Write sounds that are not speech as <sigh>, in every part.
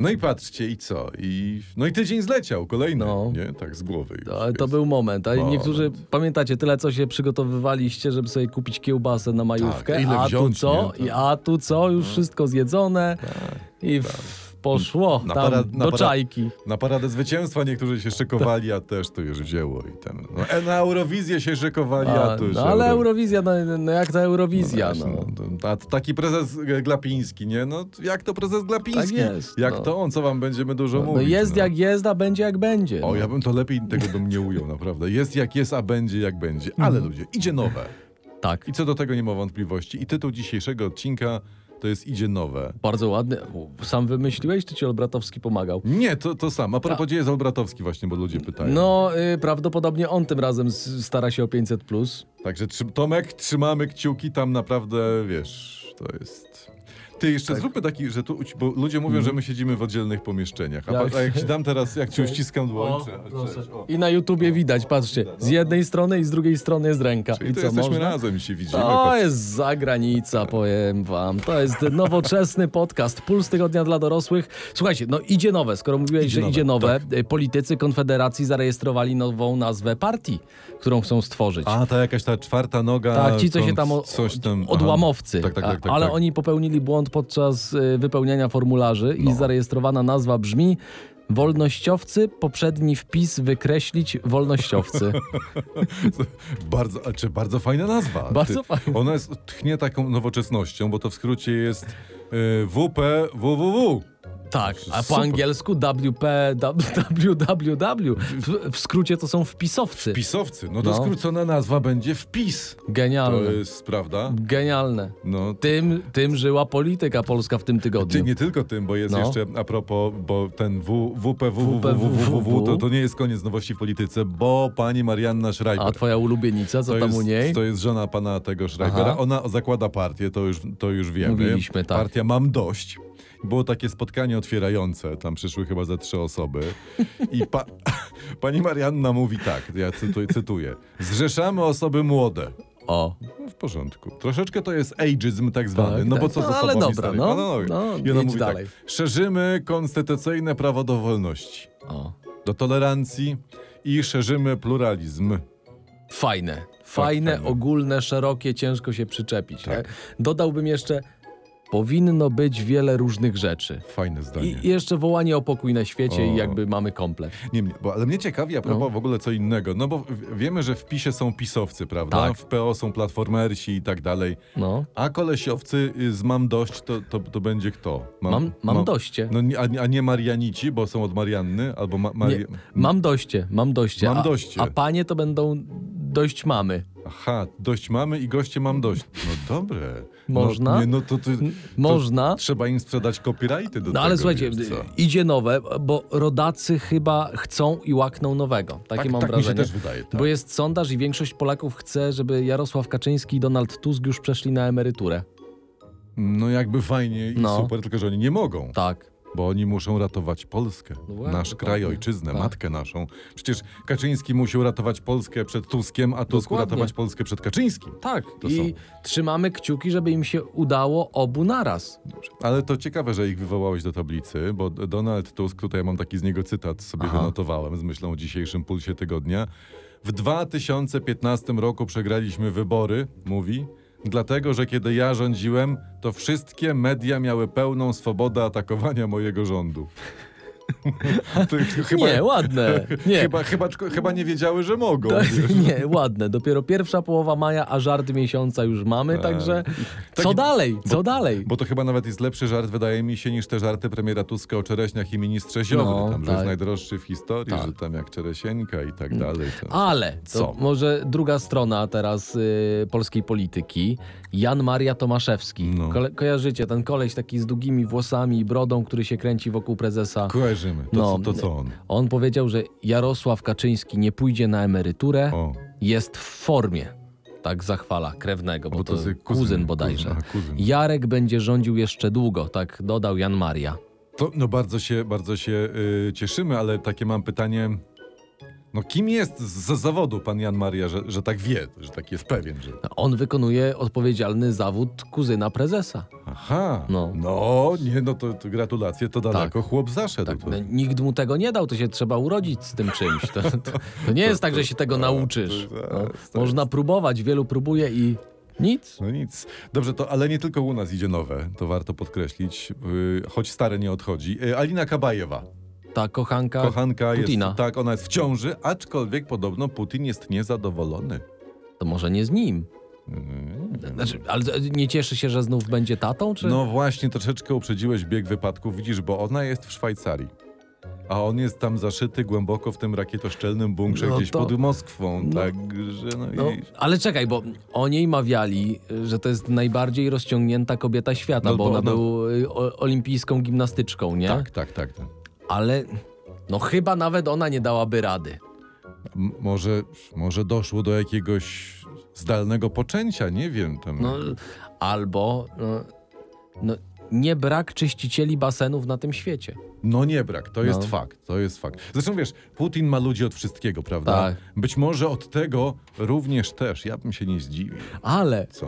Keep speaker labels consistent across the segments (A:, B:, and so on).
A: No i patrzcie, i co? I, no i tydzień zleciał, kolejny,
B: No.
A: nie? Tak z głowy już
B: To, ale to
A: jest.
B: był moment. A
A: Moment.
B: niektórzy, pamiętacie, tyle co się przygotowywaliście, żeby sobie kupić kiełbasę na majówkę,
A: Tak, ile
B: a
A: wziąć,
B: tu co?
A: nie? Tak.
B: I a tu co? Już wszystko zjedzone i w, poszło
A: tak. Na
B: tam
A: para- na
B: do
A: para-
B: czajki.
A: Na paradę zwycięstwa niektórzy się szykowali, a też to już wzięło i ten. No, e, na Eurowizję się szykowali, a,
B: A,
A: tu już
B: no, ale
A: Euro-
B: Eurowizja, no, no jak ta Eurowizja,
A: Wiesz,
B: no.
A: no, to- a taki prezes e, Glapiński, nie? No t- jak to prezes Glapiński?
B: Tak jest,
A: jak
B: no.
A: to on, co wam będziemy dużo
B: No,
A: mówić?
B: jest
A: no.
B: jak jest, a będzie jak będzie.
A: O,
B: no.
A: ja bym to lepiej tego bym nie ujął, naprawdę. Jest jak jest, a będzie jak będzie. Ale ludzie, idzie nowe.
B: Tak.
A: I co do tego nie ma wątpliwości. I tytuł dzisiejszego odcinka to jest Idzie nowe.
B: Bardzo ładny. U, Sam wymyśliłeś, czy ci Olbratowski pomagał?
A: Nie, to, to sam. A propos dzieje Olbratowski właśnie, bo ludzie pytają.
B: Tak. No, y, prawdopodobnie on tym razem s- stara się o 500+. Plus.
A: Także trzy, Tomek, trzymamy kciuki, tam naprawdę, wiesz, to jest... Ty jeszcze zróbmy taki, że tu, bo ludzie mówią, że my siedzimy w oddzielnych pomieszczeniach. A,
B: Jak-
A: Mhm. jak, a jak ci dam teraz, jak <laughs> ci uściskam dłoń,
B: O,
A: czy- czy- o.
B: I na YouTubie widać, patrzcie, z jednej strony i z drugiej strony jest ręka.
A: Czyli
B: I
A: to
B: co,
A: jesteśmy
B: można?
A: razem i się widzimy.
B: To jest zagranica, powiem wam. To jest nowoczesny podcast Puls Tygodnia dla Dorosłych. Słuchajcie, no idzie nowe, skoro mówiłeś, że
A: nowe, tak.
B: idzie nowe. y, Politycy Konfederacji zarejestrowali nową nazwę partii, którą chcą stworzyć.
A: A, ta jakaś ta czwarta noga.
B: Tak, ci, co
A: tą-
B: się tam, o,
A: coś tam aha.
B: odłamowcy.
A: Tak, tak, tak, tak,
B: ale
A: tak.
B: oni popełnili błąd podczas y, wypełniania formularzy
A: No.
B: i zarejestrowana nazwa brzmi Wolnościowcy, poprzedni wpis wykreślić
A: <laughs>
B: wolnościowcy.
A: <laughs> Bardzo, a czy bardzo fajna nazwa.
B: Bardzo fajna.
A: Ona jest, tchnie taką nowoczesnością, bo to w skrócie jest y, WP, WWW.
B: tak, a po
A: Super.
B: angielsku WP, WWW. W, w skrócie to są wpisowcy.
A: Pisowcy. No to
B: No.
A: skrócona nazwa będzie wpis. To
B: Genialne.
A: jest prawda.
B: Genialne.
A: No, ty,
B: Tym, tym żyła polityka polska w tym tygodniu.
A: nie tylko tym, bo jest
B: No.
A: jeszcze a propos, bo ten w, WP,
B: WP,
A: WWW, to, to nie jest koniec nowości w polityce, bo pani Marianna
B: A
A: Schreiber.
B: twoja ulubienica, co
A: to
B: tam
A: jest,
B: u niej?
A: To jest żona pana tego Schreibera.
B: Aha.
A: Ona zakłada partię, to już, to już wiemy.
B: Mówiliśmy, tak.
A: Partia Mam Dość. Było takie spotkanie otwierające, tam przyszły chyba ze trzy osoby. I pa pani Marianna mówi tak, ja cytuję, cytuję. Zrzeszamy osoby młode.
B: O,
A: No w porządku. Troszeczkę to jest ageism tak zwany,
B: Tak,
A: no
B: tak.
A: bo co
B: No,
A: ze sobą
B: ale dobra,
A: historię?
B: no, no,
A: no. I
B: jedź
A: ona mówi
B: dalej.
A: tak. Szerzymy konstytucyjne prawo do wolności,
B: o.
A: do tolerancji i szerzymy pluralizm.
B: Fajne. Fajne,
A: fajne.
B: ogólne, szerokie, ciężko się przyczepić. Tak. Dodałbym jeszcze, powinno być wiele różnych rzeczy.
A: Fajne zdanie.
B: I i jeszcze wołanie o pokój na świecie i
A: O.
B: jakby mamy komplet.
A: Nie, nie, bo, ale mnie ciekawi a propos w ogóle co innego, no bo w- wiemy, że w PiSie są pisowcy, prawda?
B: Tak.
A: W PO są platformersi i tak dalej.
B: No.
A: A kolesiowcy y, z Mam Dość to, to, to będzie kto?
B: Mam, mam doście.
A: No, nie- a, nie- a nie Marianici, bo są od Marianny, albo ma,
B: Nie,
A: Mari...
B: mam doście, mam doście.
A: Mam
B: a,
A: doście.
B: A panie to będą dość mamy.
A: Aha, dość mamy i goście mam dość. No dobre.
B: Można?
A: No, nie, no to, to, to
B: Można.
A: Trzeba im sprzedać copyrighty do tego.
B: No ale słuchajcie,
A: wiesz co.
B: idzie nowe, bo rodacy chyba chcą i łakną nowego. Takie
A: Tak-
B: mam
A: tak mi się
B: wrażenie.
A: też wydaje, tak.
B: Bo jest sondaż i większość Polaków chce, żeby Jarosław Kaczyński i Donald Tusk już przeszli na emeryturę.
A: No jakby fajnie i
B: No.
A: super, tylko że oni nie mogą.
B: Tak.
A: Bo oni muszą ratować Polskę,
B: No właśnie,
A: nasz kraj,
B: dokładnie.
A: ojczyznę,
B: Tak.
A: matkę naszą. Przecież Kaczyński musiał ratować Polskę przed Tuskiem, a Tusk
B: Dokładnie.
A: ratować Polskę przed Kaczyńskim.
B: Tak.
A: To
B: I
A: są-
B: trzymamy kciuki, żeby im się udało obu naraz.
A: Ale to ciekawe, że ich wywołałeś do tablicy, bo Donald Tusk, tutaj mam taki z niego cytat, sobie
B: Aha.
A: wynotowałem z myślą o dzisiejszym pulsie tygodnia. W 2015 roku przegraliśmy wybory, mówi, dlatego, że kiedy ja rządziłem, to wszystkie media miały pełną swobodę atakowania mojego
B: <laughs>
A: rządu. To chyba,
B: Nie,
A: <laughs>
B: ładne. Nie.
A: Chyba, chyba, chyba nie wiedziały, że mogą. wiesz.
B: Nie, ładne. Dopiero pierwsza połowa maja, a żart miesiąca już mamy,
A: Tak.
B: także co
A: Taki-
B: dalej? Co dalej?
A: Bo to chyba nawet jest lepszy żart, wydaje mi się, niż te żarty premiera Tuska o czereśniach i ministrze Ziobry,
B: No,
A: tam, że
B: tak.
A: jest najdroższy w historii,
B: Tak. Mm.
A: że tam jak czeresieńka i tak dalej. To...
B: Ale to
A: Co?
B: może druga strona teraz y, polskiej polityki. Jan Maria Tomaszewski.
A: No.
B: Kole- kojarzycie ten koleś taki z długimi włosami i brodą, który się kręci wokół prezesa.
A: Kojarzymy, to,
B: No.
A: co, to co on?
B: On powiedział, że Jarosław Kaczyński nie pójdzie na emeryturę,
A: O,
B: jest w formie. Tak zachwala krewnego, bo,
A: Bo
B: to,
A: to
B: kuzyn,
A: jest kuzyn,
B: bodajże.
A: kuzyn, a, kuzyn.
B: Jarek będzie rządził jeszcze długo, tak dodał Jan Maria.
A: to no bardzo się, bardzo się y, cieszymy, ale takie mam pytanie, No kim jest z z zawodu pan Jan Maria, że, że tak wie, że tak jest pewien, że...
B: On wykonuje odpowiedzialny zawód kuzyna prezesa.
A: Aha,
B: No.
A: no, nie, no to, to gratulacje, to daleko chłop zaszedł.
B: Tak,
A: to,
B: no, nikt mu tego nie dał, to się trzeba urodzić z tym czymś. To, to, to nie jest tak, że się tego nauczysz.
A: to- to
B: No,
A: jest-
B: można próbować, wielu próbuje i nic.
A: No nic. Dobrze, to ale nie tylko u nas idzie nowe, to warto podkreślić, yy, choć stare nie odchodzi. Yy, Alina Kabajewa,
B: Ta kochanka,
A: kochanka
B: Putina.
A: jest, tak, ona jest w ciąży, aczkolwiek podobno Putin jest niezadowolony. Mm.
B: to może nie z nim. Znaczy, ale nie cieszy się, że znów będzie tatą? Czy...
A: No właśnie, troszeczkę uprzedziłeś bieg wypadków, widzisz, bo ona jest w Szwajcarii. A on jest tam zaszyty głęboko w tym rakietoszczelnym bunkrze
B: No
A: gdzieś
B: to-
A: pod Moskwą,
B: no-
A: także no,
B: No,
A: i...
B: ale czekaj, bo o niej mawiali, że to jest najbardziej rozciągnięta kobieta świata,
A: No
B: bo
A: bo
B: ona
A: ona-
B: była y, o- olimpijską gimnastyczką, nie?
A: Tak, tak, tak. tak.
B: Ale no chyba nawet ona nie dałaby rady.
A: M- może, może doszło do jakiegoś zdalnego poczęcia, nie wiem. Tam...
B: No, albo no, no, nie brak czyścicieli basenów na tym świecie.
A: No nie brak, to jest
B: No.
A: fakt, to jest fakt. Zresztą wiesz, Putin ma ludzi od wszystkiego, prawda?
B: Tak.
A: Być może od tego również też, ja bym się nie zdziwił.
B: Ale <laughs>
A: Co?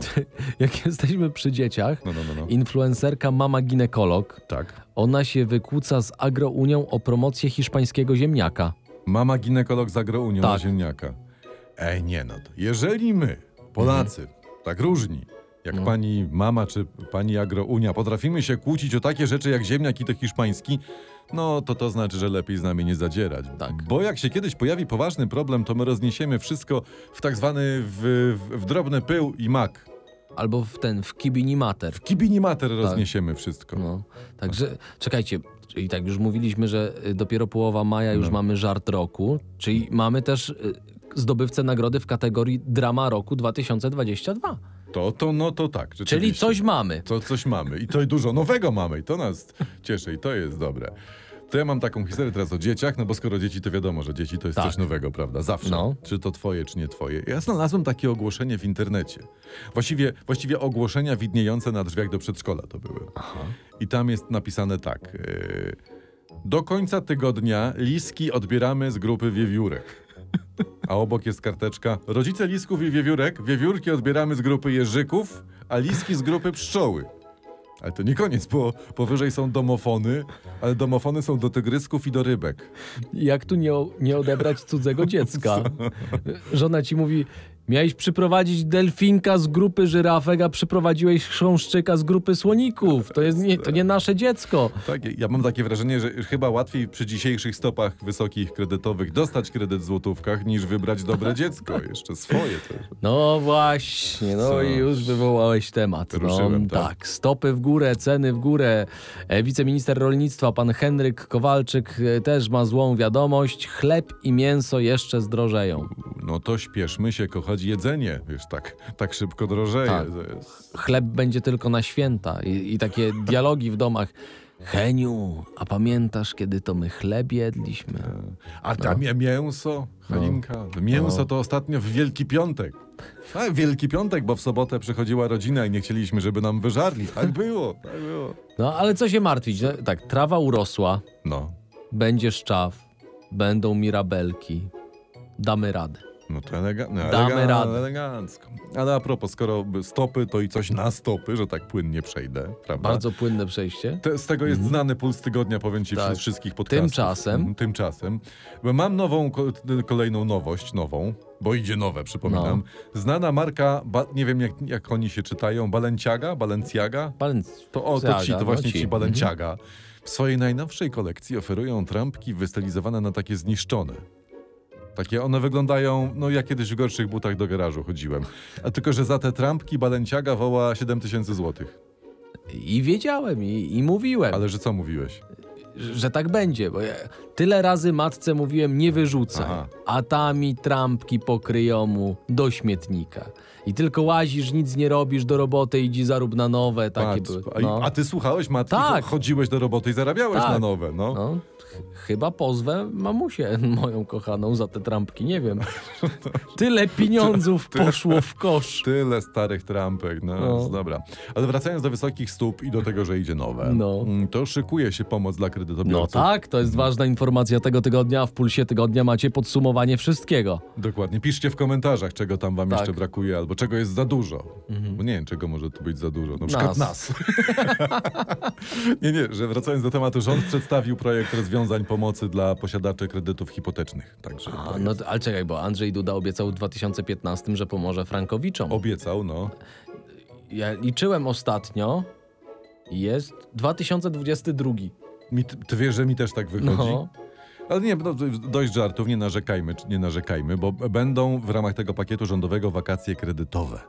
B: jak jesteśmy przy dzieciach,
A: No, no, no. no.
B: influencerka mama ginekolog,
A: Tak.
B: ona się wykłóca z agrounią o promocję hiszpańskiego ziemniaka.
A: Mama ginekolog z agrounią
B: Tak.
A: na ziemniaka. Ej, nie no, to jeżeli my, Polacy, tak różni, jak
B: Mhm. No.
A: pani mama czy pani agrounia, potrafimy się kłócić o takie rzeczy jak ziemniak i to hiszpański, no to to znaczy, że lepiej z nami nie zadzierać.
B: Tak.
A: Bo jak się kiedyś pojawi poważny problem, to my rozniesiemy wszystko w tak zwany w, w, w drobny pył i mak.
B: Albo w ten, w kibini mater.
A: W kibini mater rozniesiemy wszystko.
B: Tak. No. Także czekajcie, i tak już mówiliśmy, że y, dopiero połowa maja już
A: No.
B: mamy żart roku, czyli mamy też y, zdobywcę nagrody w kategorii drama roku 2022.
A: To, to, no to tak.
B: Czyli
A: rzeczywiście.
B: coś mamy.
A: To coś mamy i to dużo nowego mamy i to nas cieszy i to jest dobre. To ja mam taką historię teraz o dzieciach, no bo skoro dzieci, to wiadomo, że dzieci to jest
B: Tak.
A: coś nowego, prawda? Zawsze.
B: No.
A: Czy to twoje, czy nie twoje. Ja znalazłem takie ogłoszenie w internecie. Właściwie, właściwie ogłoszenia widniejące na drzwiach do przedszkola to były. I tam jest napisane tak. Yy, do końca tygodnia liski odbieramy z grupy wiewiórek. A obok jest karteczka. Rodzice lisków i wiewiórek, wiewiórki odbieramy z grupy jeżyków, a liski z grupy pszczoły. Ale to nie koniec, bo powyżej są domofony, ale domofony są do tygrysków i do rybek.
B: Jak tu nie, o- nie odebrać cudzego dziecka? Żona ci mówi, miałeś przyprowadzić delfinka z grupy żyrafek, a przyprowadziłeś chrząszczyka z grupy słoników. To, jest nie, to nie nasze dziecko.
A: Tak, ja mam takie wrażenie, że chyba łatwiej przy dzisiejszych stopach wysokich kredytowych dostać kredyt w złotówkach, niż wybrać dobre dziecko, jeszcze swoje też.
B: No właśnie, no
A: Co?
B: i już wywołałeś temat.
A: Ruszyłem,
B: no,
A: tak.
B: tak, stopy w górę, ceny w górę. E, Wiceminister rolnictwa, pan Henryk Kowalczyk e, też ma złą wiadomość. Chleb i mięso jeszcze zdrożeją.
A: No to śpieszmy się kochać jedzenie, wiesz, tak, tak szybko drożeje.
B: Tak.
A: To jest...
B: Chleb będzie tylko na święta i, i takie dialogi w domach. Heniu, a pamiętasz, kiedy to my chleb jedliśmy?
A: A tam no. mięso, Halinka, mięso to ostatnio w Wielki Piątek. A Wielki Piątek, bo w sobotę przychodziła rodzina i nie chcieliśmy, żeby nam wyżarli. Tak było, tak było.
B: No, ale co się martwić? No, tak, trawa urosła,
A: No,
B: będzie szczaw, będą mirabelki. Damy radę.
A: No to elega- no,
B: Damy
A: elegan-
B: radę.
A: elegancko. Ale a propos, skoro stopy, to i coś na stopy, że tak płynnie przejdę, prawda?
B: Bardzo płynne przejście.
A: Te, z tego jest znany puls tygodnia, powiem ci,
B: Tak.
A: wśród wszystkich podcastów.
B: Tymczasem-
A: Mhm, Tymczasem. Bo Mam nową, ko- t- kolejną nowość, nową, bo idzie nowe, przypominam.
B: No.
A: Znana marka, ba- nie wiem jak, jak oni się czytają, Balenciaga, Balenciaga?
B: Pan...
A: To, o, to
B: Zaga,
A: ci, to
B: no
A: właśnie
B: ci. Mhm.
A: ci Balenciaga. W swojej najnowszej kolekcji oferują trampki wystylizowane na takie zniszczone. Takie one wyglądają, no ja kiedyś w gorszych butach do garażu chodziłem. A tylko, że za te trampki Balenciaga woła 7 tysięcy złotych.
B: I wiedziałem, i, i mówiłem,
A: Ale że co mówiłeś?
B: że tak będzie, bo ja tyle razy matce mówiłem, nie wyrzucaj,
A: Aha.
B: a ta mi trampki pokryją mu do śmietnika. I tylko łazisz, nic nie robisz do roboty, idź zarób na nowe, takie
A: Patrz,
B: były.
A: a, i-
B: No.
A: a ty słuchałeś matki,
B: Tak.
A: chodziłeś do roboty i zarabiałeś
B: Tak.
A: na nowe, no.
B: No, ch- chyba pozwę mamusię, <laughs> moją kochaną, za te trampki,
A: <laughs>
B: nie wiem. Tyle pieniądzów poszło w
A: <laughs>
B: kosz.
A: Tyle starych trampek, no,
B: No.
A: dobra. Ale wracając do wysokich stóp i do tego, że idzie nowe,
B: No.
A: mm, to szykuje się pomoc dla kredytobiorców. naprawdę do
B: No
A: biorców.
B: tak, to jest ważna informacja tego tygodnia. a W pulsie tygodnia macie podsumowanie wszystkiego.
A: Dokładnie. Piszcie w komentarzach, czego tam wam
B: Tak. Mhm.
A: jeszcze brakuje, albo czego jest za dużo. Bo nie wiem, czego może tu być za dużo. Na przykład nas. <laughs> Nie, nie, że wracając do tematu, rząd przedstawił projekt rozwiązań pomocy dla posiadaczy kredytów hipotecznych. Także
B: A, no, to- ale czekaj, bo Andrzej Duda obiecał w 2015, że pomoże Frankowiczom.
A: obiecał, no.
B: Ja liczyłem ostatnio. Jest 2022.
A: Mi, ty ty wiesz, że mi też tak wychodzi.
B: No,
A: Ale nie, no, dość żartów, nie narzekajmy, nie narzekajmy, bo będą w ramach tego pakietu rządowego wakacje kredytowe.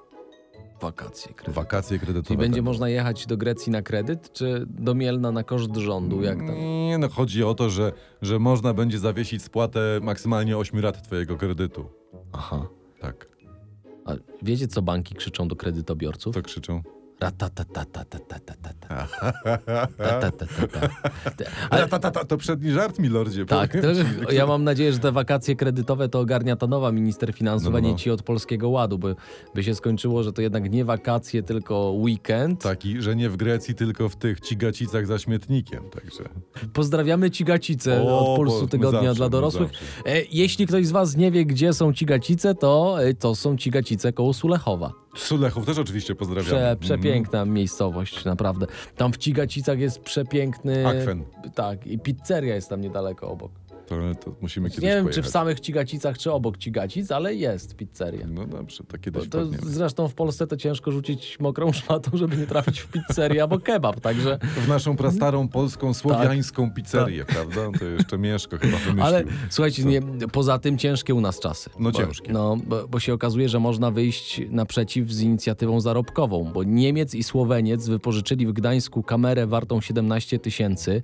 B: wakacje kredyt.
A: Wakacje kredytowe.
B: Czyli będzie
A: będą.
B: można jechać do Grecji na kredyt, czy do Mielna na koszt rządu, jak tam?
A: Nie, no chodzi o to, że, że można będzie zawiesić spłatę maksymalnie 8 lat twojego kredytu.
B: Aha.
A: Tak,
B: A wiecie, co banki krzyczą do kredytobiorców?
A: to tak krzyczą.
B: Ratatatatatatatata. Ratatatata. Te- Ale,
A: Ale ta, ta, ta, to przedni żart, milordzie.
B: tak,
A: <laughs> powiem ci.
B: to, ja mam nadzieję, że te wakacje kredytowe to ogarnia ta nowa minister finansów,
A: No, no,
B: a nie
A: no.
B: ci od Polskiego Ładu, by, by się skończyło, że to jednak nie wakacje, tylko weekend.
A: Taki, że nie w Grecji, tylko w tych cigacicach za śmietnikiem, także...
B: Pozdrawiamy Cigacice
A: O,
B: od Pulsu
A: bo-
B: Tygodnia
A: zawsze,
B: dla
A: no
B: Dorosłych.
A: zawsze.
B: E, jeśli ktoś z Was nie wie, gdzie są Cigacice, to e, to są Cigacice koło Sulechowa.
A: Sulechów też oczywiście Mhm. pozdrawiam.
B: Prze, przepiękna miejscowość, naprawdę. Tam w Cigacicach jest przepiękny...
A: Akwen.
B: Tak, i pizzeria jest tam niedaleko obok.
A: To, to musimy
B: Nie
A: kiedyś
B: wiem,
A: pojechać.
B: czy w samych Cigacicach, czy obok Cigacic, ale jest pizzeria.
A: No dobrze, to
B: To,
A: kiedyś
B: to
A: wpadniemy.
B: zresztą w Polsce to ciężko rzucić mokrą szmatą, żeby nie trafić w pizzerię albo kebab, także...
A: W naszą prastarą
B: Tak.
A: polską słowiańską pizzerię, prawda? To jeszcze Mieszko chyba wymyślił.
B: Ale słuchajcie, nie, poza tym ciężkie u nas czasy.
A: No
B: bo,
A: ciężkie.
B: No, bo, bo się okazuje, że można wyjść naprzeciw z inicjatywą zarobkową, bo Niemiec i Słoweniec wypożyczyli w Gdańsku kamerę wartą 17 tysięcy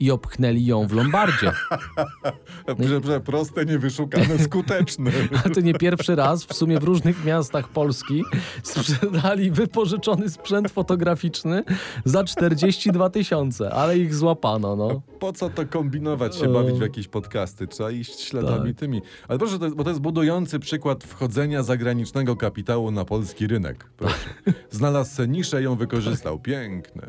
B: i obchnęli ją w Lombardzie. <laughs>
A: Że, że proste, niewyszukane, skuteczne.
B: <laughs> A to nie pierwszy raz w sumie w różnych miastach Polski sprzedali wypożyczony sprzęt fotograficzny za 42 tysiące, ale ich złapano, no.
A: Po co to kombinować, się bawić w jakieś podcasty? Trzeba iść śladami
B: tak.
A: tymi. Ale proszę, to jest, bo to jest budujący przykład wchodzenia zagranicznego kapitału na polski rynek. Proszę. Znalazł se niszę, ją wykorzystał. Piękne.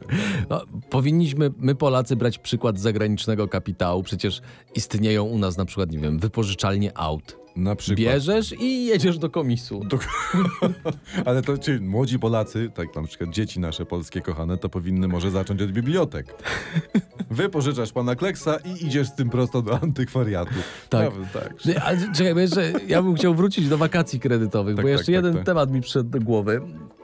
B: No, powinniśmy my Polacy brać przykład z zagranicznego kapitału. Przecież istnieją u nas na przykład, nie wiem, wypożyczalnie aut.
A: Na przykład.
B: Bierzesz i jedziesz do komisu.
A: Ale to ci młodzi Polacy, tak na przykład dzieci nasze polskie kochane, to powinny może zacząć od bibliotek. Wypożyczasz pana Kleksa i idziesz z tym prosto do antykwariatu.
B: Tak.
A: Prawda, tak.
B: Nie, Ale czekaj, bo jeszcze, ja bym chciał wrócić do wakacji kredytowych,
A: Tak,
B: bo
A: tak,
B: jeszcze
A: tak,
B: jeden
A: tak.
B: temat mi przyszedł do głowy.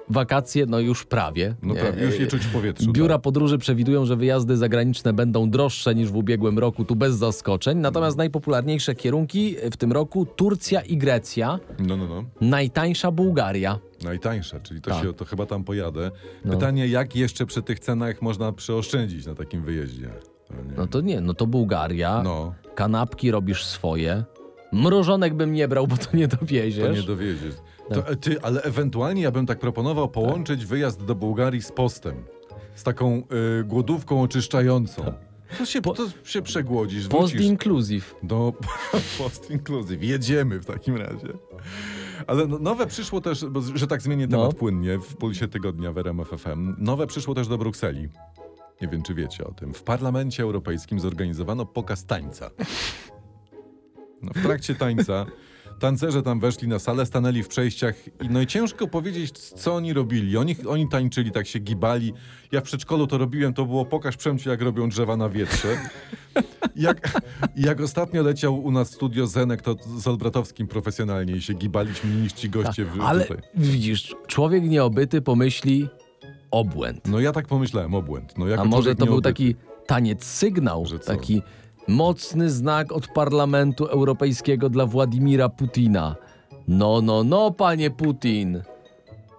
B: Wakacje, no już prawie.
A: No
B: Nie,
A: prawie, już je czuć w powietrzu.
B: Biura podróży przewidują, że wyjazdy zagraniczne będą droższe niż w ubiegłym roku, tu bez zaskoczeń.
A: Mhm.
B: Natomiast najpopularniejsze kierunki w tym roku Turcja i Grecja,
A: tak. No, no, no.
B: najtańsza Bułgaria.
A: Najtańsze, No czyli to,
B: Tak.
A: się, to chyba tam pojadę.
B: No.
A: Pytanie, jak jeszcze przy tych cenach można przeoszczędzić na takim wyjeździe? To nie-
B: No to nie, no to Bułgaria.
A: no,
B: kanapki robisz swoje. Mrożonek bym nie brał, bo to nie dowieziesz.
A: to nie dowiedzieć. To,
B: Tak.
A: e, ty, ale ewentualnie ja bym tak proponował połączyć wyjazd do Bułgarii z postem. Z taką y, głodówką oczyszczającą.
B: Tak.
A: To się, to się przegłodzisz,
B: Post
A: wrócisz.
B: inclusive.
A: Do <laughs> post inclusive. Jedziemy w takim razie. Ale no- nowe przyszło też, bo, z- że tak zmienię temat
B: No.
A: płynnie w pulsie tygodnia w RMF FM. Nowe przyszło też do Brukseli. Nie wiem, czy wiecie o tym. W Parlamencie Europejskim zorganizowano pokaz tańca. No, w trakcie tańca tancerze tam weszli na salę, stanęli w przejściach i no i ciężko powiedzieć, co oni robili. Oni, oni tańczyli, tak się gibali. Ja w przedszkolu to robiłem, to było pokaż Przemciu, jak robią drzewa na wietrze. Jak, jak ostatnio leciał u nas w studio Zenek, to z Olbratowskim profesjonalnie i się gibaliśmy niż ci goście w,
B: Ale
A: tutaj.
B: widzisz, człowiek nieobyty pomyśli obłęd.
A: No ja tak pomyślałem, obłęd. No, jako
B: A może
A: człowiek
B: to był
A: nieobyty.
B: taki taniec sygnał,
A: Że co?
B: taki mocny znak od Parlamentu Europejskiego dla Władimira Putina. No, no, no, panie Putin.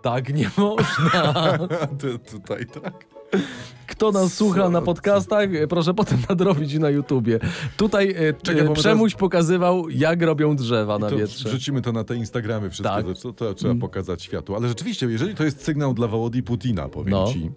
B: Tak nie <laughs> można.
A: <laughs> Ty- tutaj tak.
B: Kto nas słucha na podcastach, e, proszę potem nadrobić na YouTubie. Tutaj e,
A: Czekaj, bo
B: e,
A: my
B: Przemuś pokazywał, jak robią drzewa na
A: To
B: wietrze.
A: wrzucimy to na te Instagramy wszystko,
B: Tak.
A: to, to, to trzeba pokazać światu. Ale rzeczywiście, jeżeli to jest sygnał dla Wołodii Putina, powiem
B: No.
A: ci,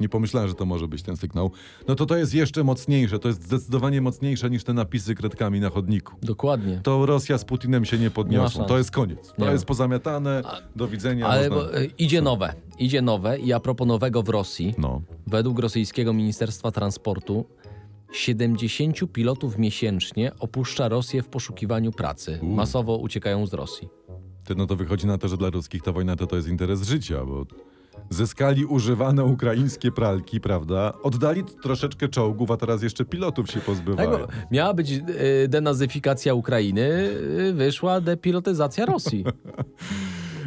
A: nie pomyślałem, że to może być ten sygnał, no to to jest jeszcze mocniejsze, to jest zdecydowanie mocniejsze niż te napisy kredkami na chodniku.
B: Dokładnie.
A: To Rosja z Putinem się nie
B: Nie ma
A: podniosą.
B: szans.
A: to jest koniec. To
B: Nie ma.
A: jest pozamiatane. Do widzenia.
B: Ale
A: można...
B: bo, e, idzie nowe. Idzie nowe i a propos nowego w Rosji,
A: No.
B: według rosyjskiego Ministerstwa Transportu 70 pilotów miesięcznie opuszcza Rosję w poszukiwaniu pracy.
A: U.
B: Masowo uciekają z Rosji.
A: Ty, no to wychodzi na to, że dla ruskich ta wojna to, to jest interes życia, bo zyskali używane ukraińskie pralki, prawda? Oddali troszeczkę czołgów, a teraz jeszcze pilotów się
B: Tak,
A: pozbywają.
B: bo miała być y, denazyfikacja Ukrainy, y, wyszła depilotyzacja Rosji.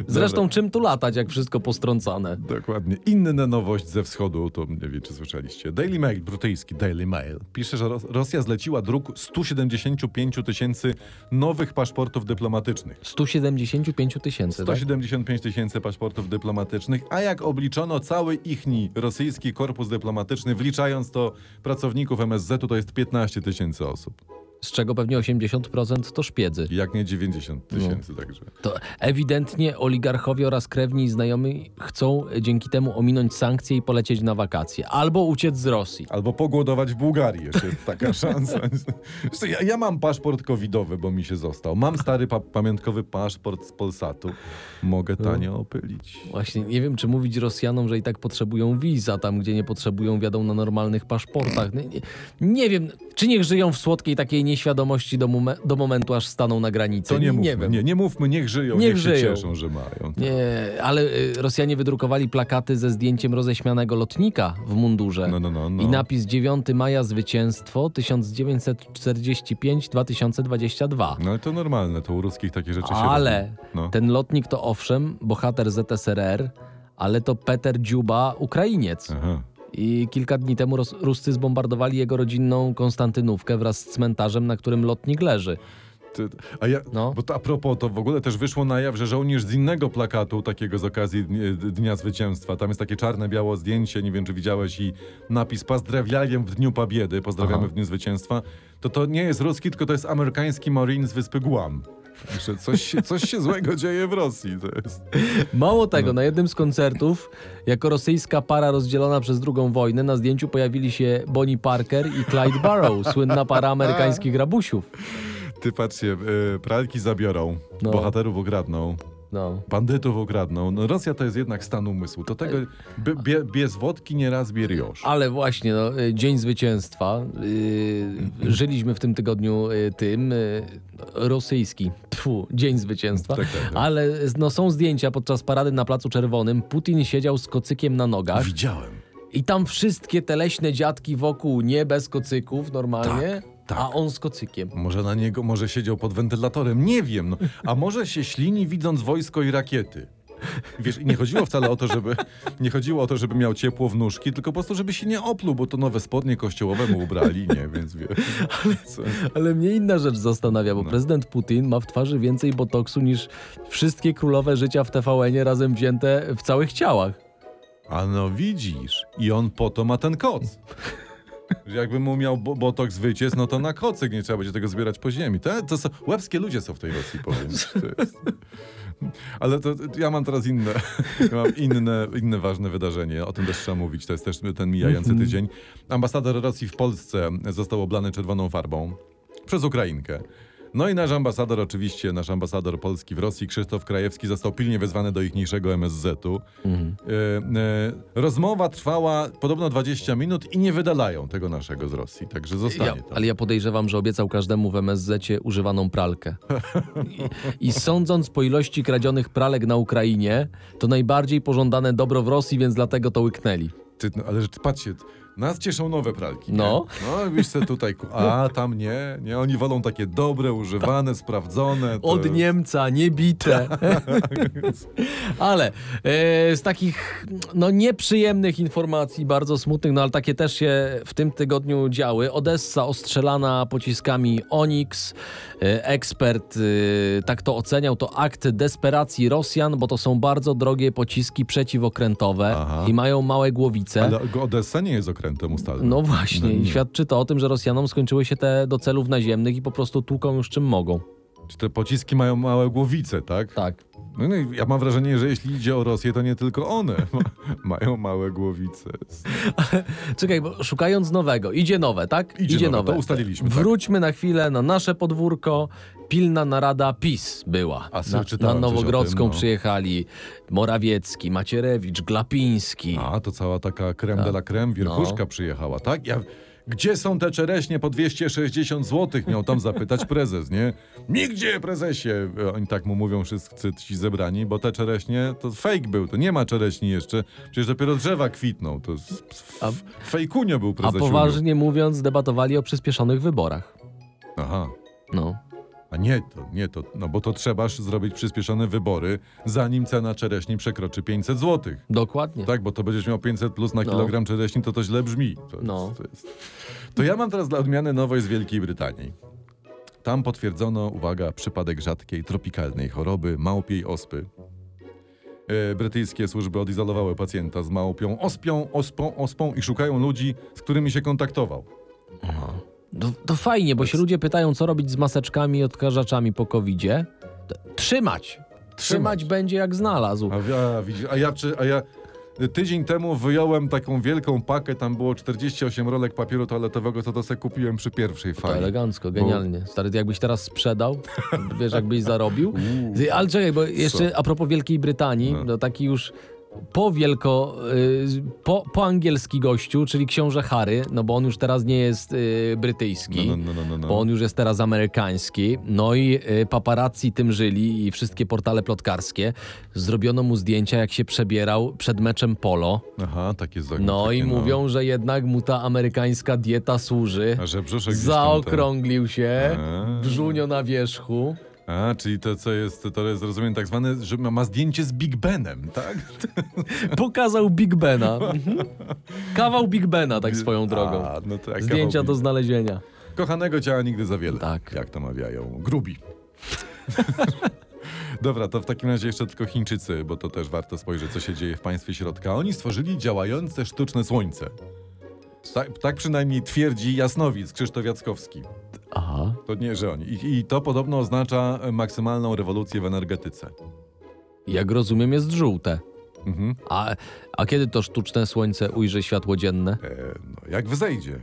B: Zresztą czym tu latać, jak wszystko postrącane?
A: Dokładnie. Inna nowość ze wschodu, to nie wiem, czy słyszeliście. Daily Mail, brytyjski Daily Mail, pisze, że Ros- Rosja zleciła druk 175 tysięcy nowych paszportów
B: Tak?
A: dyplomatycznych.
B: 175 tysięcy, tak?
A: 175 tysięcy paszportów dyplomatycznych, a jak obliczono cały ichni rosyjski korpus dyplomatyczny, wliczając to pracowników MSZ-u, to jest 15 tysięcy osób.
B: z czego pewnie 80% to szpiedzy.
A: Jak nie 90 tysięcy, także.
B: To ewidentnie oligarchowie oraz krewni i znajomi chcą e, dzięki temu ominąć sankcje i polecieć na wakacje. Albo uciec z Rosji.
A: Albo pogłodować w Bułgarii, jeszcze jest
B: <laughs>
A: taka szansa. Zresztą ja, ja mam paszport covidowy, bo mi się został. Mam stary pa pamiątkowy paszport z Polsatu. Mogę tanio opylić.
B: Właśnie nie wiem, czy mówić Rosjanom, że i tak potrzebują wiza, tam gdzie nie potrzebują, wiadą na normalnych paszportach. Nie, nie, nie wiem, czy niech żyją w słodkiej takiej nieświadomości do, mome- do momentu, aż staną na granicy.
A: To nie
B: nie
A: mówmy,
B: wiem.
A: nie, nie mówmy, niech żyją, niech,
B: Niech
A: się
B: żyją.
A: cieszą, że mają.
B: Nie, ale y, Rosjanie wydrukowali plakaty ze zdjęciem roześmianego lotnika w mundurze.
A: No, no, no, no.
B: I napis 9 maja zwycięstwo 1945-2022.
A: No ale to normalne, to u ruskich takie rzeczy się
B: Ale
A: robi. No.
B: ten lotnik to owszem, bohater ZSRR, ale to Peter Dziuba, Ukrainiec.
A: Aha.
B: I kilka dni temu Ros- Ruscy zbombardowali jego rodzinną Konstantynówkę wraz z cmentarzem, na którym lotnik leży.
A: Ty, a ja,
B: No.
A: bo to a propos, to w ogóle też wyszło na jaw, że żołnierz z innego plakatu, takiego z okazji Dni- Dnia Zwycięstwa, tam jest takie czarne-biało zdjęcie, nie wiem czy widziałeś, i napis Pozdrawiajem w Dniu Pobiedy, pozdrawiamy
B: Aha.
A: w Dniu Zwycięstwa, to to nie jest ruski, tylko to jest amerykański Marine z wyspy Guam. Także coś, się- coś się złego dzieje w Rosji. To jest.
B: Mało tego, na jednym z koncertów, jako rosyjska para rozdzielona przez drugą wojnę, na zdjęciu pojawili się Bonnie Parker i Clyde Barrow, słynna para amerykańskich rabusiów.
A: Ty patrzcie, y, pralki zabiorą,
B: No.
A: bohaterów okradną.
B: No.
A: Bandytów okradną. No Rosja to jest jednak stan umysłu. Do
B: E,
A: tego by, bie, bez wodki nie raz bieriosz.
B: Ale właśnie, no, y, Dzień Zwycięstwa. y, żyliśmy w tym tygodniu y, tym. y, rosyjski. Tfu, Dzień Zwycięstwa.
A: Tak, tak, tak.
B: Ale y, no, są zdjęcia podczas parady na Placu Czerwonym. Putin siedział z kocykiem na nogach.
A: Widziałem.
B: I tam wszystkie te leśne dziadki wokół nie bez kocyków normalnie.
A: tak.
B: A on z kocykiem.
A: Może na niego, może siedział pod wentylatorem, nie wiem. No. A może się ślini widząc wojsko i rakiety. Wiesz, i nie chodziło wcale o to, żeby nie chodziło o to, żeby miał ciepło w nóżki, tylko po prostu, żeby się nie opluł, bo to nowe spodnie kościołowe mu ubrali, nie, więc wiesz. Co?
B: Ale mnie inna rzecz zastanawia, bo prezydent Putin ma w twarzy więcej botoksu niż wszystkie królowe życia w TVN-ie razem wzięte w całych ciałach.
A: A no widzisz, i on po to ma ten koc. Że Jakby mu miał bo- botok wyciec, no to na kocyk nie trzeba będzie tego zbierać po ziemi. To, to są, łebskie ludzie są w tej Rosji, powiem. ci, To jest. Ale to, to ja mam teraz inne, <laughs> ja mam inne, inne ważne wydarzenie. O tym też trzeba mówić. To jest też ten mijający
B: Mhm.
A: tydzień. Ambasador Rosji w Polsce został oblany czerwoną farbą przez Ukrainkę. No i nasz ambasador, oczywiście, nasz ambasador Polski w Rosji, Krzysztof Krajewski, został pilnie wezwany do ichniejszego MSZ-u.
B: Mhm.
A: E, e, rozmowa trwała podobno 20 minut i nie wydalają tego naszego z Rosji, także zostanie
B: Ja,
A: tam.
B: ale ja podejrzewam, że obiecał każdemu w MSZ używaną pralkę. I, I sądząc po ilości kradzionych pralek na Ukrainie, to najbardziej pożądane dobro w Rosji, więc dlatego to łyknęli.
A: Ty, no, ale rzecz- patrzcie, nas cieszą nowe pralki.
B: No.
A: Nie? No, wiesz co tutaj, ku- a tam nie, nie, oni wolą takie dobre, używane, sprawdzone. to-
B: Od Niemca, niebite. ale e, z takich no, nieprzyjemnych informacji, bardzo smutnych, no ale takie też się w tym tygodniu działy. Odessa ostrzelana pociskami Onyx. E, ekspert e, tak to oceniał, to akt desperacji Rosjan, bo to są bardzo drogie pociski przeciwokrętowe
A: Aha.
B: i mają małe głowice.
A: Ale Odessa nie jest okrętem ustalnym.
B: No właśnie, i świadczy to o tym, że Rosjanom skończyły się te do celów naziemnych i po prostu tłuką już czym mogą.
A: Czy te pociski mają małe głowice, tak?
B: Tak.
A: No, i ja mam wrażenie, że jeśli idzie o Rosję, to nie tylko one <laughs> ma- mają małe głowice.
B: Czekaj, bo szukając nowego, idzie nowe, tak?
A: Idzie nowe, to ustaliliśmy, tak.
B: Wróćmy na chwilę na nasze podwórko. Pilna narada PiS była.
A: A,
B: na, na
A: czytałem coś o
B: Nowogrodzką
A: tym, no.
B: przyjechali Morawiecki, Macierewicz, Glapiński.
A: A, to cała taka creme de la creme, wierchuszka
B: No.
A: przyjechała, tak? Ja, Gdzie są te czereśnie po 260 zł? Miał tam
B: <laughs>
A: zapytać prezes, nie? Nigdzie, prezesie! Oni tak mu mówią wszyscy ci zebrani, bo te czereśnie to fake był, to nie ma czereśni jeszcze. Przecież dopiero drzewa kwitną. To s- s-
B: A-
A: fejkunio był
B: A
A: prezesiu.
B: poważnie mówiąc, debatowali o przyspieszonych wyborach.
A: Aha.
B: No.
A: A nie to, nie to, no bo to trzebaż zrobić przyspieszone wybory, zanim cena czereśni przekroczy 500 zł.
B: Dokładnie.
A: Tak, bo to będziesz miał 500 plus na
B: No.
A: kilogram czereśni, to to źle brzmi. To, jest-
B: No.
A: to, jest. to ja mam teraz dla odmiany nowość z Wielkiej Brytanii. Tam potwierdzono, uwaga, przypadek rzadkiej tropikalnej choroby małpiej ospy. E, Brytyjskie służby odizolowały pacjenta z małpią ospią, ospą, ospą i szukają ludzi, z którymi się kontaktował.
B: Aha. To, to fajnie, bo się ludzie pytają, co robić z maseczkami i odkażaczami po covid Trzymać. Trzymać.
A: Trzymać.
B: będzie jak znalazł.
A: A, ja- widzisz, a ja czy, a ja e, tydzień temu wyjąłem taką wielką pakę, tam było 48 rolek papieru toaletowego, co to se kupiłem przy pierwszej
B: To
A: fali.
B: elegancko, genialnie. Stary, ty jakbyś teraz sprzedał, <laughs> wiesz, jakbyś zarobił.
A: Uuu.
B: Ty, Ale czekaj, bo jeszcze a propos Wielkiej Brytanii,
A: No.
B: no taki już po wielko, y, po, po angielski gościu, czyli książę Harry, no bo on już teraz nie jest y, brytyjski.
A: No, no, no, no, no, no.
B: bo on już jest teraz amerykański. No i y, paparazzi tym żyli i wszystkie portale plotkarskie. Zrobiono mu zdjęcia, jak się przebierał przed meczem polo.
A: Aha, takie zakończenie.
B: No i mówią, że jednak mu ta amerykańska dieta służy.
A: A że brzuszek gdzieś tam
B: Zaokrąglił się,
A: Eee.
B: brzunio na wierzchu.
A: Ten... A, czyli to co jest, to jest rozumiem tak zwane, że ma ma zdjęcie z Big Benem, tak?
B: Pokazał Big Bena. Mhm. <laughs> Kawał Big Bena, tak swoją drogą.
A: A, no to jak
B: Zdjęcia
A: kawał
B: do
A: Big-
B: znalezienia.
A: Kochanego ciała nigdy za wiele.
B: Tak.
A: Jak to mawiają. Grubi. <laughs> Dobra, to w takim razie jeszcze tylko Chińczycy, bo to też warto spojrzeć, co się dzieje w państwie środka. Oni stworzyli działające sztuczne słońce. Tak, tak przynajmniej twierdzi Jasnowic Krzysztof Jackowski.
B: Aha.
A: To nie, że oni. I, I to podobno oznacza e, maksymalną rewolucję w energetyce.
B: Jak rozumiem, jest żółte.
A: Mhm.
B: A, a kiedy to sztuczne słońce ujrzy światło dzienne?
A: E, no, jak wzejdzie.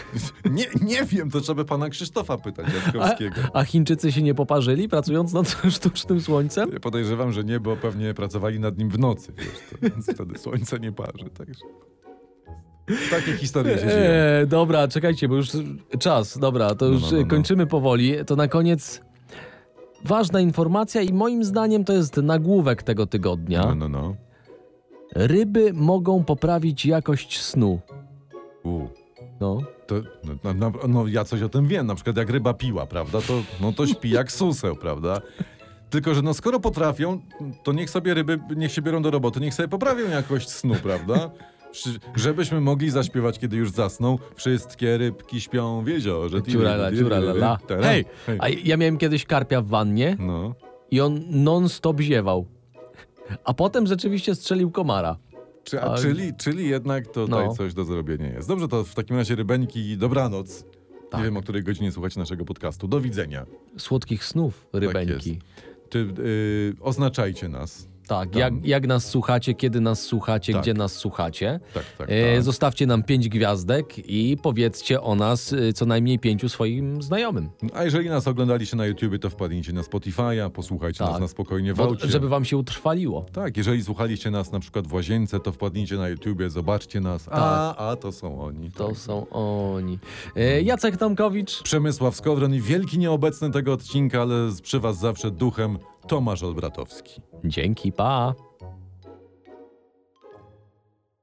A: <laughs> Nie, nie wiem, to trzeba pana Krzysztofa pytać
B: A,
A: Jackowskiego.
B: a Chińczycy się nie poparzyli pracując nad <laughs> sztucznym słońcem?
A: Ja podejrzewam, że nie, bo pewnie pracowali nad nim w nocy, wiesz, to, więc wtedy słońce nie parzy, także... Takie historie się dzieją.
B: Eee, dobra, czekajcie, bo już czas, dobra, to
A: No,
B: już
A: no, no, no.
B: kończymy powoli. To na koniec ważna informacja i moim zdaniem to jest nagłówek tego tygodnia.
A: No, no, no.
B: Ryby mogą poprawić jakość snu.
A: U,
B: No.
A: to, no, no, no, no ja coś o tym wiem, na przykład jak ryba piła, prawda, to, no, to śpi jak suseł, prawda? Tylko, że no skoro potrafią, to niech sobie ryby, niech się biorą do roboty, niech sobie poprawią jakość snu, prawda? Przy- Żebyśmy mogli zaśpiewać, kiedy już zasną, wszystkie rybki śpią w jeziorze.
B: Ciurala, ciurala, la.
A: Tara.
B: Hej, a ja miałem kiedyś karpia w wannie
A: No.
B: i on non-stop ziewał. A potem rzeczywiście strzelił komara.
A: Czy, a,
B: A-
A: czyli, czyli jednak tutaj
B: No.
A: coś do zrobienia jest. Dobrze, to w takim razie rybeńki, dobranoc.
B: Tak.
A: Nie wiem, o której godzinie słuchacie naszego podcastu. Do widzenia.
B: Słodkich snów, rybeńki.
A: Czy Tak y, oznaczajcie nas.
B: Tak,
A: Tam.
B: jak, jak nas słuchacie, kiedy nas słuchacie,
A: Tak.
B: gdzie nas słuchacie.
A: Tak, tak. tak.
B: E, zostawcie nam pięć gwiazdek i powiedzcie o nas e, co najmniej pięciu swoim znajomym.
A: A jeżeli nas oglądaliście na YouTubie, to wpadnijcie na Spotify'a, posłuchajcie
B: Tak.
A: nas na spokojnie w
B: Bo,
A: aucie.
B: żeby wam się utrwaliło.
A: Tak, jeżeli słuchaliście nas na przykład w łazience, to wpadnijcie na YouTubie, zobaczcie nas. A, a to są oni.
B: Tak. To
A: tak.
B: są oni. E, Jacek Tomkowicz.
A: Przemysław Skowron i wielki nieobecny tego odcinka, ale z- przy was zawsze duchem Tomasz Olbratowski.
B: Dzięki, pa.